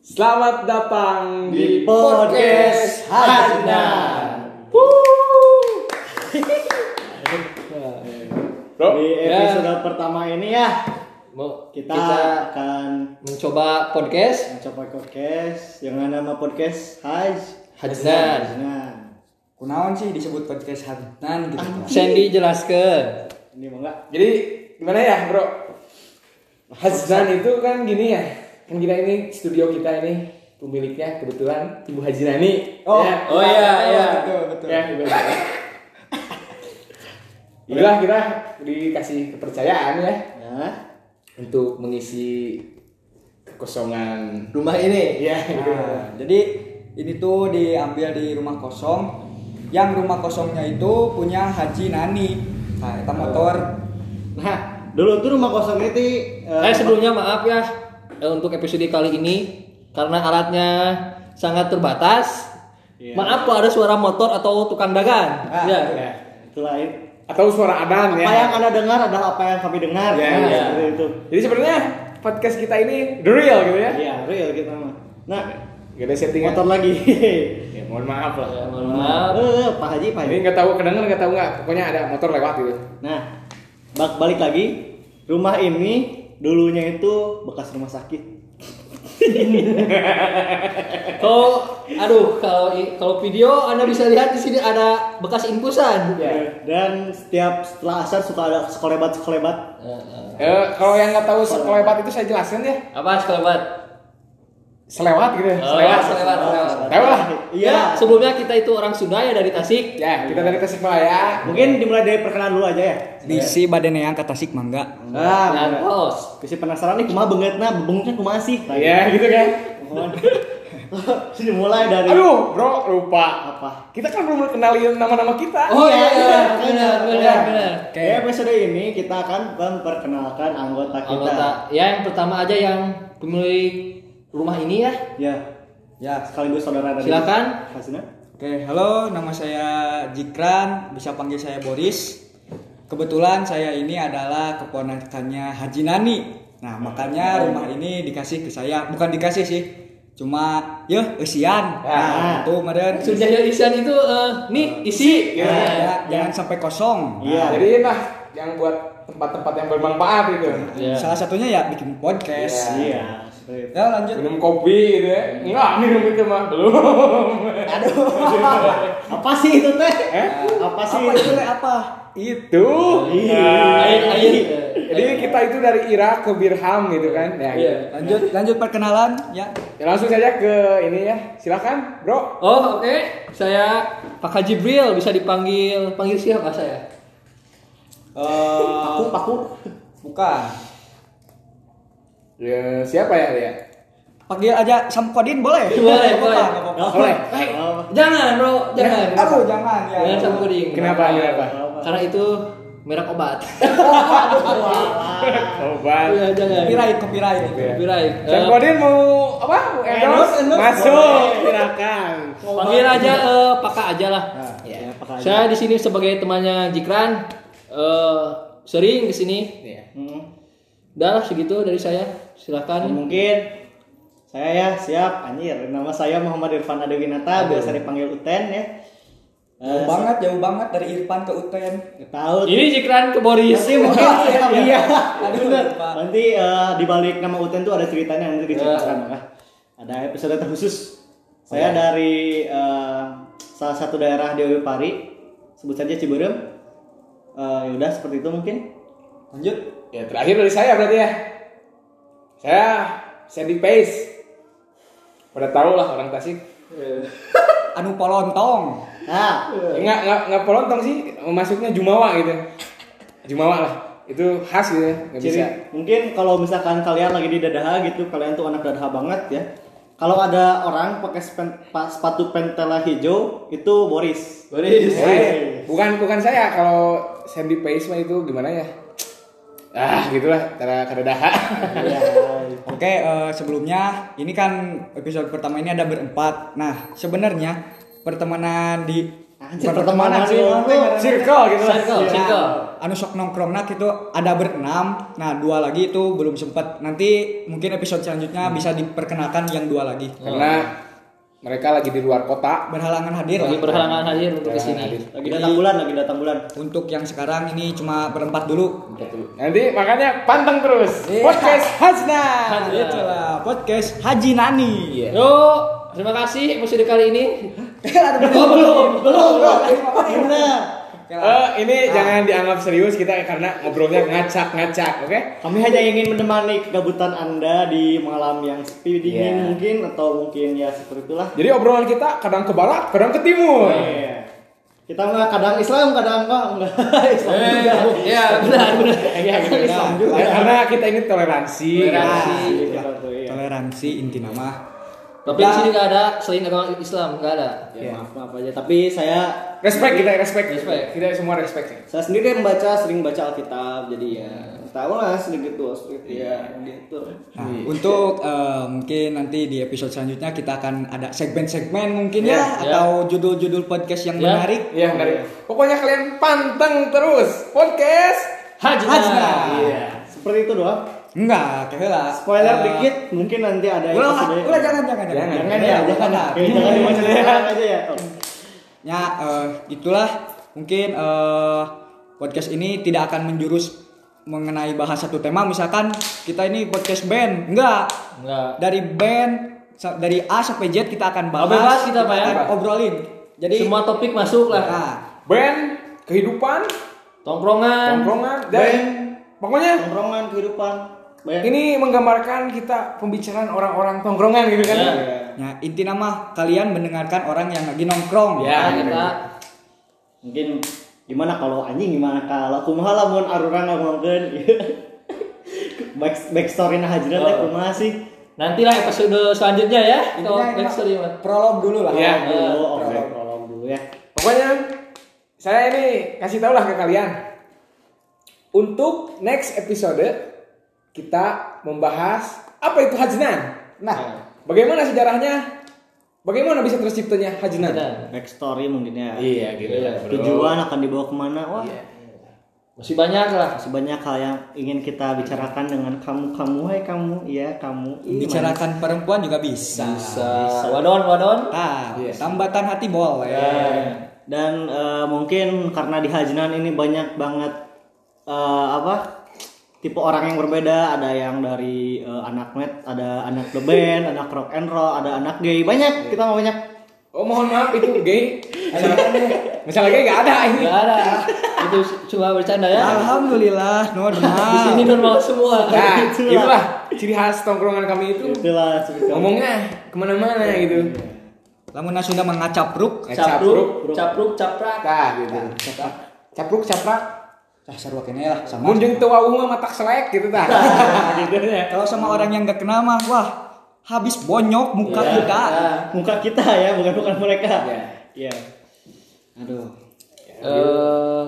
Selamat datang di Di podcast podcast Hajinan. Hajinan. Bro, Di ya. episode pertama ini ya Mau kita, kita, akan mencoba podcast mencoba podcast dengan nama podcast Haj Hajnan. Nah, Kunaon sih disebut podcast Hajinan gitu. Bro? Sandy jelaskan. ini mau nggak? Jadi gimana ya, Bro? Hajinan itu kan gini ya. Kan kita ini studio kita ini pemiliknya kebetulan Ibu Ya. Haji Nani. Oh, oh iya, iya. Betul, betul. Ya, Ibu Haji. Udah kita dikasih kepercayaan ya Nah, untuk mengisi kekosongan rumah ini. Iya, gitu. Nah, jadi ini tuh diambil di rumah kosong. Yang rumah kosongnya itu punya Haji Nani. Nah, itu motor. Nah, dulu tuh rumah kosong itu Eh sebelumnya maaf ya eh, untuk episode kali ini karena alatnya sangat terbatas. Iya. Maaf kalau ada suara motor atau tukang dagang. Ah, ya. ya. selain atau suara adan ya. apa yang anda dengar adalah apa yang kami dengar. Ya, Nah, ya. seperti itu. Jadi sebenarnya podcast kita ini the real gitu ya. Iya, real kita mah. Nah, Gak ada settingan. motor lagi. Ya, mohon maaf lah. Ya, mohon Nah, maaf. eh, Pak Haji, Pak Haji. Ini nggak tahu kedengar nggak tahu nggak. Pokoknya ada motor lewat gitu. Nah, bak balik lagi, rumah ini dulunya itu bekas rumah sakit. Kalau aduh kalau i- kalau video Anda bisa lihat di sini ada bekas impusan. Iya. Dan setiap setelah asar suka ada sekolebat-sekolebat. Eh, eh. Eh, kalau yang nggak tahu selebat itu saya jelasin ya. Apa sekelebat? Selewat gitu. Oh, selewat. selewat, selewat. Tahu lah. Iya. Ya, sebelumnya kita itu orang Sunda ya dari Tasik. Ya, kita dari Tasikmalaya. Mungkin dimulai dari perkenalan dulu aja ya. Eh. Bisi badannya yang ke Tasik mangga. Iya. Nah, Dan host. bisa penasaran nih kumaha beungeutna, beungeutna kumaha sih? Nah, Iya, gitu kan. Kumaha. Sudah mulai dari Aduh, bro, lupa. apa? Kita kan belum kenalin nama-nama kita. Oh iya, Iya, iya, iya, benar, iya. benar, benar. Kayak episode ini kita akan memperkenalkan anggota kita. Anggota, ya yang pertama aja yang pemilik rumah ini ya. Ya, Ya. sekaligus saudara dari Silakan. Hasna. Oke, halo, nama saya Jikran, bisa panggil saya Boris. Kebetulan saya ini adalah keponakannya Haji Nani. Nah, makanya rumah ini dikasih ke saya, bukan dikasih sih. Cuma, yuk, isian. Nah, itu meren. Sudah ya Isan itu eh, nih isi. Ya, Nah, ya, jangan sampai kosong. Iya. Nah, jadi nah yang buat tempat-tempat yang bermanfaat gitu. Iya. Salah satunya ya bikin podcast. Iya, seperti itu. Ya lanjut. Minum kopi gitu ya. Enggak, minum itu mah belum. Eh? apa sih itu teh? Apa sih Apa itu? Iya. itu Le? apa? itu Ih. Nah, Air, air. jadi kita itu dari Irak ke Birham gitu kan ya, Iya. gitu. Lanjut lanjut perkenalan ya. Ya, langsung saja ke ini ya silakan bro Oh oke, saya Pak Haji Jibril bisa dipanggil panggil siapa saya? Eh, Iya. Paku, paku. bukan. ya, siapa ya dia Panggil aja Samkodin boleh? Boleh, Apa-apa, boleh. apa-apa. Nggak Boleh. Hei, Oh. jangan bro, jangan. Aduh, jangan ya. Jangan sama kuding. Kenapa, kenapa? Karena itu merek obat. obat Iya, jangan. Copyright, copyright. Copyright. Sam Eh, Kodin mau apa? Mau endorse? Endorse, endorse. Masuk, silakan. Panggil aja eh, Paka aja lah. Ya, apa aja? Saya di sini sebagai temannya Jikran eh, sering ke sini. ya. Hmm. Udah lah segitu dari saya. Silakan. Mungkin saya ya siap anjir. Nama saya Muhammad Irfan Adewinata, biasa dipanggil Uten ya. Jauh banget, jauh banget dari Irfan ke Uten. Nggak Tahu Ini Jikran ke Boris. Nanti mungkin iya. Aduh, Bener. lupa. Nanti eh, di balik nama Uten tuh ada ceritanya nanti diceritakan ya. Ada episode terkhusus. Saya dari eh, salah satu daerah di Oyo Pari, sebut saja Ciberem. Eh, ya udah seperti itu mungkin. Lanjut. Ya terakhir dari saya berarti ya. Saya Sandy Pace. Pada tahu lah orang Tasik. Anu polontong. Nah, Enggak enggak enggak polontong sih, masuknya Jumawa gitu. Jumawa lah. Itu khas gitu ya, nggak Ciri, bisa. mungkin kalau misalkan kalian lagi di dadaha gitu, kalian tuh anak dadaha banget ya. Kalau ada orang pakai spen- pa- sepatu pentela hijau, itu Boris. Boris. Eh, bukan bukan saya kalau Sandy Pace mah itu gimana ya? Ah, gitulah cara kededahan. Iya. Oke, eh, sebelumnya ini kan episode pertama ini ada berempat. Nah, sebenarnya pertemanan di Anjir pertemanan sih. Circle gitu. Circle, Iya. circle. anu sok nongkrongna gitu ada berenam nah dua lagi itu belum sempat nanti mungkin episode selanjutnya bisa diperkenalkan yang dua lagi Karena mereka lagi di luar kota. berhalangan hadir Lagi lah. berhalangan hadir untuk Berhalangan hadir. kesini. Lagi datang bulan, lagi datang bulan. untuk yang sekarang ini cuma berempat dulu Nanti makanya panteng terus. Iya. Podcast Hazna. Kan itulah podcast Haji Nani Yo, terima kasih episode kali ini. Oh, Belum, bro. Bener. Eh, Nah. ini jangan dianggap serius kita karena ngobrolnya ngacak-ngacak, oke? Kami hanya ingin menemani kegabutan Anda di malam yang sepi Iya. dingin mungkin atau mungkin ya seperti itulah. Jadi obrolan kita kadang ke barat, kadang ke timur. Iya. Kita mah kadang Islam, kadang kok enggak Islam juga. Ya, benar benar. Iya, kadang Islam juga. Ya, karena kita ini toleransi. Toleransi. Nah, Iya. gitu tuh, iya. toleransi inti nama Tapi di sini nggak ada selain agama Islam nggak ada. Ya, maaf maaf aja tapi saya Respect kita, Iya. respect. Respect. Kita semua respect sih. saya sendiri membaca sering baca Alkitab jadi ya tahu lah sedikit tuh sedikit ya gitu. Nah, untuk eh, mungkin nanti di episode selanjutnya kita akan ada segmen-segmen mungkin Iya, ya atau judul-judul podcast Iya. yang menarik Iya, menarik. Pokoknya kalian panteng terus podcast. Haji. Hajna. Iya, seperti itu doang. enggak kehela Spoiler Eh, dikit mungkin nanti ada ulah episode- ulah jangan jangan Iya, Jangan. Jangan ya, jangan. lah. Oke, Jangan dibaca sekarang aja ya. Oh. Ya, eh, itulah mungkin eh, podcast ini tidak akan menjurus mengenai bahas satu tema. Misalkan kita ini podcast band, enggak. Enggak. Dari band sa- dari A sampai Z kita akan bahas. Oh, bebas kita, Pak, ya? akan obrolin. Jadi Semua topik masuk lah. Nah, Band, kehidupan, Tongkrongan. tongkrongan, dan Band. pokoknya Tongkrongan kehidupan. Banyak. ini menggambarkan kita pembicaraan orang-orang tongkrongan gitu kan. Iya, Ya. ya, inti nama kalian mendengarkan orang yang lagi nongkrong. Ya. Nah, kita Mungkin gimana kalau anjing gimana kalau kumaha lamun arurang ngomongkeun. Back backstory nah hajran teh Oh. kumaha sih? nantilah episode selanjutnya ya. Kalau Intinya backstory mah. prolog dulu lah. Ya. Iya. Dulu, oke, prolog dulu ya. Pokoknya saya ini kasih tau lah ke kalian. Untuk next episode kita membahas apa itu hajnan. Nah. Nah, bagaimana sejarahnya? Bagaimana bisa terciptanya hajnan? Backstory mungkin ya. Iya, gitu. Iya. Tujuan akan dibawa kemana? Wah, Masih banyak lah. sebanyak hal yang ingin kita bicarakan dengan kamu kamu hai kamu iya kamu Ih, manis. Bicarakan perempuan juga bisa. Bisa. Wadon, wadon. Ah, Yes. tambatan hati boleh. Ya. dan eh, mungkin karena di Hajnan ini banyak banget eh, apa tipe orang yang berbeda ada yang dari eh, anak med ada anak the band anak rock and roll ada anak gay banyak kita mau banyak Oh mohon maaf itu gay. Misalnya gay nggak ada ini. Nah, Enggak ada. Itu cuma bercanda ya. Alhamdulillah normal. Di sini normal Nah, semua. Itulah. Iya. itulah ciri khas tongkrongan kami itu. itulah seperti itu. Ngomongnya kemana-mana gitu. Lamun nah sudah mengacap ruk, gitu. eh, Capruk, capruk, caprak. Tah gitu. Capruk caprak. ah sarua kene lah sama. Mun jeung teu wawuh mah matak selek gitu tah. Gitu ya. Kalau sama orang yang gak kenal mah wah habis bonyok muka Ya. kita. muka kita ya bukan bukan mereka Iya. iya aduh Eh,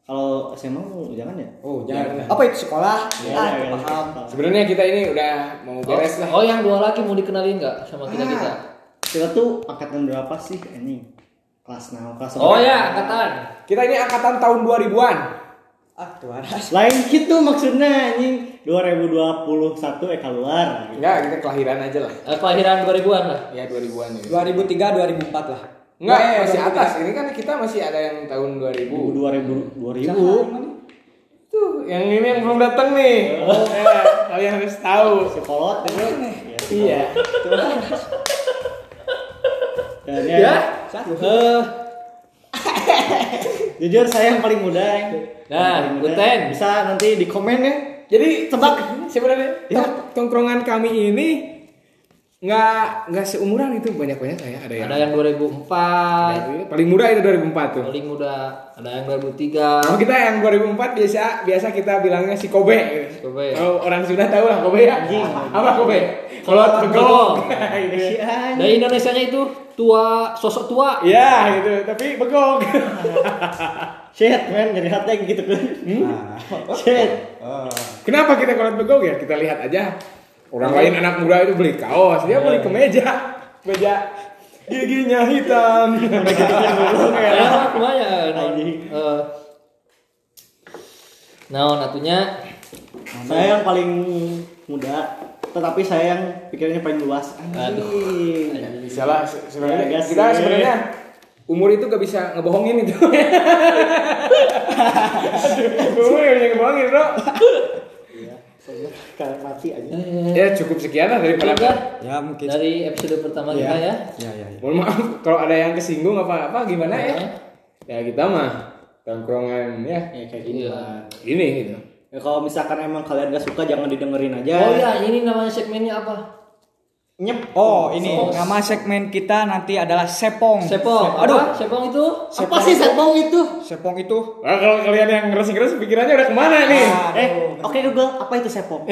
kalau SMA mau jangan ya Oh, jangan. Apa itu sekolah? Ya, Iya, ah, iya, itu paham. iya. Sebenarnya kita ini udah mau oh, gitu. beres lah. Ah. oh, yang dua lagi mau dikenalin nggak sama kita kita? kita tuh angkatan berapa sih ini kelas 6 kelas Oh berapa? ya, angkatan. Kita ini angkatan tahun 2000-an. Ah, tuh ada. lain gitu maksudnya anjing 2021 eh keluar gitu. Enggak, kita kelahiran aja lah. Eh, kelahiran 2000-an lah. Ya 2000-an ya. 2003 2004 lah. Enggak, Eh, masih 2003. atas. Ini kan kita masih ada yang tahun 2000. 2000 2000 Oh, Tuh, yang ini yang belum datang nih. Ya, kalian harus tahu. si kolot itu ya, si Iya. kolot. Dan ya, Ya. Eh, jujur saya yang paling muda ya Nah, Yang paling muda. Uten. bisa nanti di komen ya Jadi Tebak. sebenarnya Ya. tong- tongkrongan kami ini nggak nggak seumuran itu banyak banyak ya ada yang ada yang 2004, paling muda itu 2004 tuh. paling muda, ada yang 2003. Kalau kita yang 2004 biasa biasa kita bilangnya si Kobe. gitu. Kobe. Kalau orang Sunda tahu lah Kobe ya. Anjing. Apa Kobe? Kalau begolok. Begolok. Gitu. Eh, si anjing. Dari Indonesia nya Nah, itu tua, sosok tua. Ya gitu, tapi begok. shit man jadi hati gitu kan shit Kenapa kita kalau begok ya? Kita Iya. lihat aja. Orang lain anak muda itu beli kaos, dia beli kemeja. Kemeja giginya hitam gitu kan, Iya. Ya, kumanya naon eh, nah, oh, naon atunya saya yang paling muda tetapi saya yang pikirannya paling luas anjing bisa lah se- sebenarnya Ya, guys, kita sih. sebenarnya umur itu gak bisa ngebohongin itu Aduh, umur gak bisa ngebohongin bro Saya kayak mati aja ya cukup sekian lah daripada Mungkin Ya, mungkin. dari episode Iya. pertama kita ya. Ya, ya, ya. mohon maaf kalau ada yang kesinggung apa apa gimana ya Ya. ya kita mah tongkrongan ya ya kayak gini lah ini gitu Ya, kalau misalkan emang kalian gak suka jangan didengerin aja Oh iya, ini namanya segmennya apa? nyep Oh, ini nama segmen kita nanti adalah Sepong. Sepong. Aduh, Aduh, sepong itu apa sih setbong itu Sepong itu Nah, kalau kalian yang ngeres-ngeres pikirannya udah kemana nih? eh oke Google apa itu sepong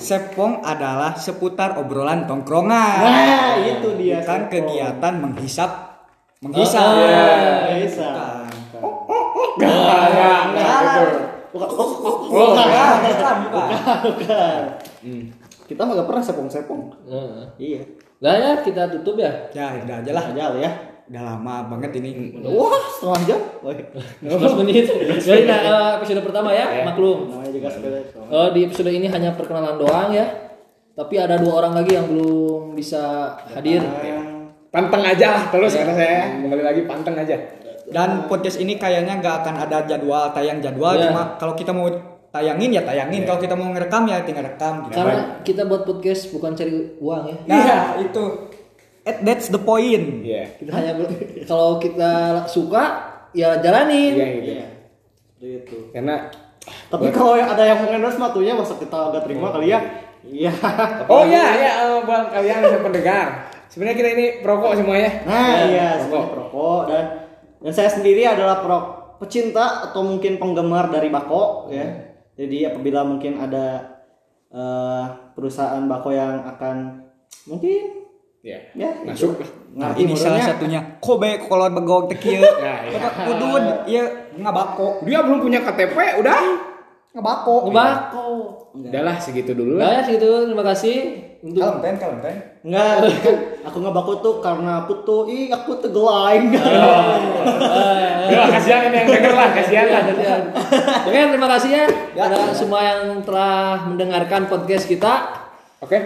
Sepong adalah seputar obrolan tongkrongan. nah itu dia Bukan sepong. kegiatan menghisap menghisap. Oh, iya. Nggak bisa Gak, gak, gak, gitu. bukan oh, oh, oh. Oh, Bukan, bukan, bukan. Bukan. Hmm. kita mah gak pernah sepong-sepong Heeh. iya Lah ya, kita tutup ya. Ya, udah aja lah. aja lah ya Udah lama banget ini. wah setengah jam Woi. 15 menit. Jadi nah, eh, episode pertama ya, maklum. namanya juga sepele Eh, di episode ini hanya perkenalan doang ya. Tapi ada dua orang lagi yang belum bisa hadir. Panteng aja lah terus kata saya. Kembali lagi panteng aja. Dan podcast ini kayaknya nggak akan ada jadwal tayang jadwal. Iya. Cuma kalau kita mau tayangin ya tayangin. Kalau kita mau ngerekam ya tinggal rekam. Gitu. Karena kita buat podcast bukan cari uang ya. Nah, itu. At that's the point. Nah, Iya. Kita hanya ber- kalau kita suka ya jalani. Iya gitu. Iya. Seperti itu. Karena Tapi kalau yang ada yang mengendorse mah tuh ya masa kita nggak terima kali ya? Iya. Oh iya, ya eh, buat kalian yang pendengar. Sebenarnya kita ini perokok ya. semuanya. Nah, iya, perokok. semuanya perokok dan dan saya sendiri adalah pro pecinta atau mungkin penggemar dari bako Iya. ya. Jadi apabila mungkin ada eh, perusahaan bako yang akan mungkin Iya. ya Masuk. Nah, Ngerti ini salah murnya. satunya. Kobe kolor begog tekieu. Nah, iya. Ya. Kudun, iya ngabako. Dia belum punya KTP, udah. Ngebako. Ngebako. Udah lah segitu dulu lah. Nah, ya segitu. Terima kasih untuk Kalem kalem Enggak, kan aku ngebako tuh karena aku tuh ih aku tegelain. Oh. Udah kasihan ini yang denger lah, kasihan lah. Kasihan. Oke, terima kasih ya. Ada semua yang telah mendengarkan podcast kita. Oke.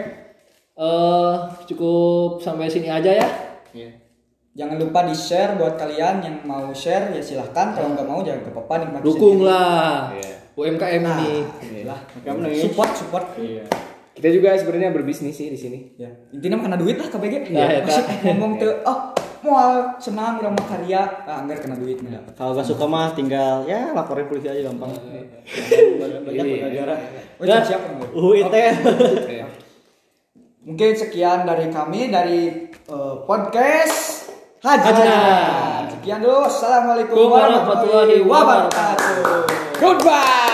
Eh, cukup sampai sini aja ya. Jangan lupa di share buat kalian yang mau share ya silahkan. Kalau nggak mau jangan nggak apa-apa nikmati. Dukunglah Iya. UMKM ini. sendiri. lah. Iya. Kamu nih. Support support. Kita juga sebenarnya berbisnis sih di sini. Ya. Intinya mah kena duit lah KBG. Nah, Ya, eta. Masih ngomong tuh oh moal senang udah mau karya. Ah, anggar kena duit nggak dapat. Kalau gak suka mah tinggal ya laporin polisi aja gampang. Banyak negara. Oh, siap, siap. UIT. Iya. Mungkin sekian dari kami dari eh, podcast Hajinan. Hajinan. Sekian dulu. Assalamualaikum Assalamualaikum warahmatullahi warahmatullahi wabarakatuh. Goodbye.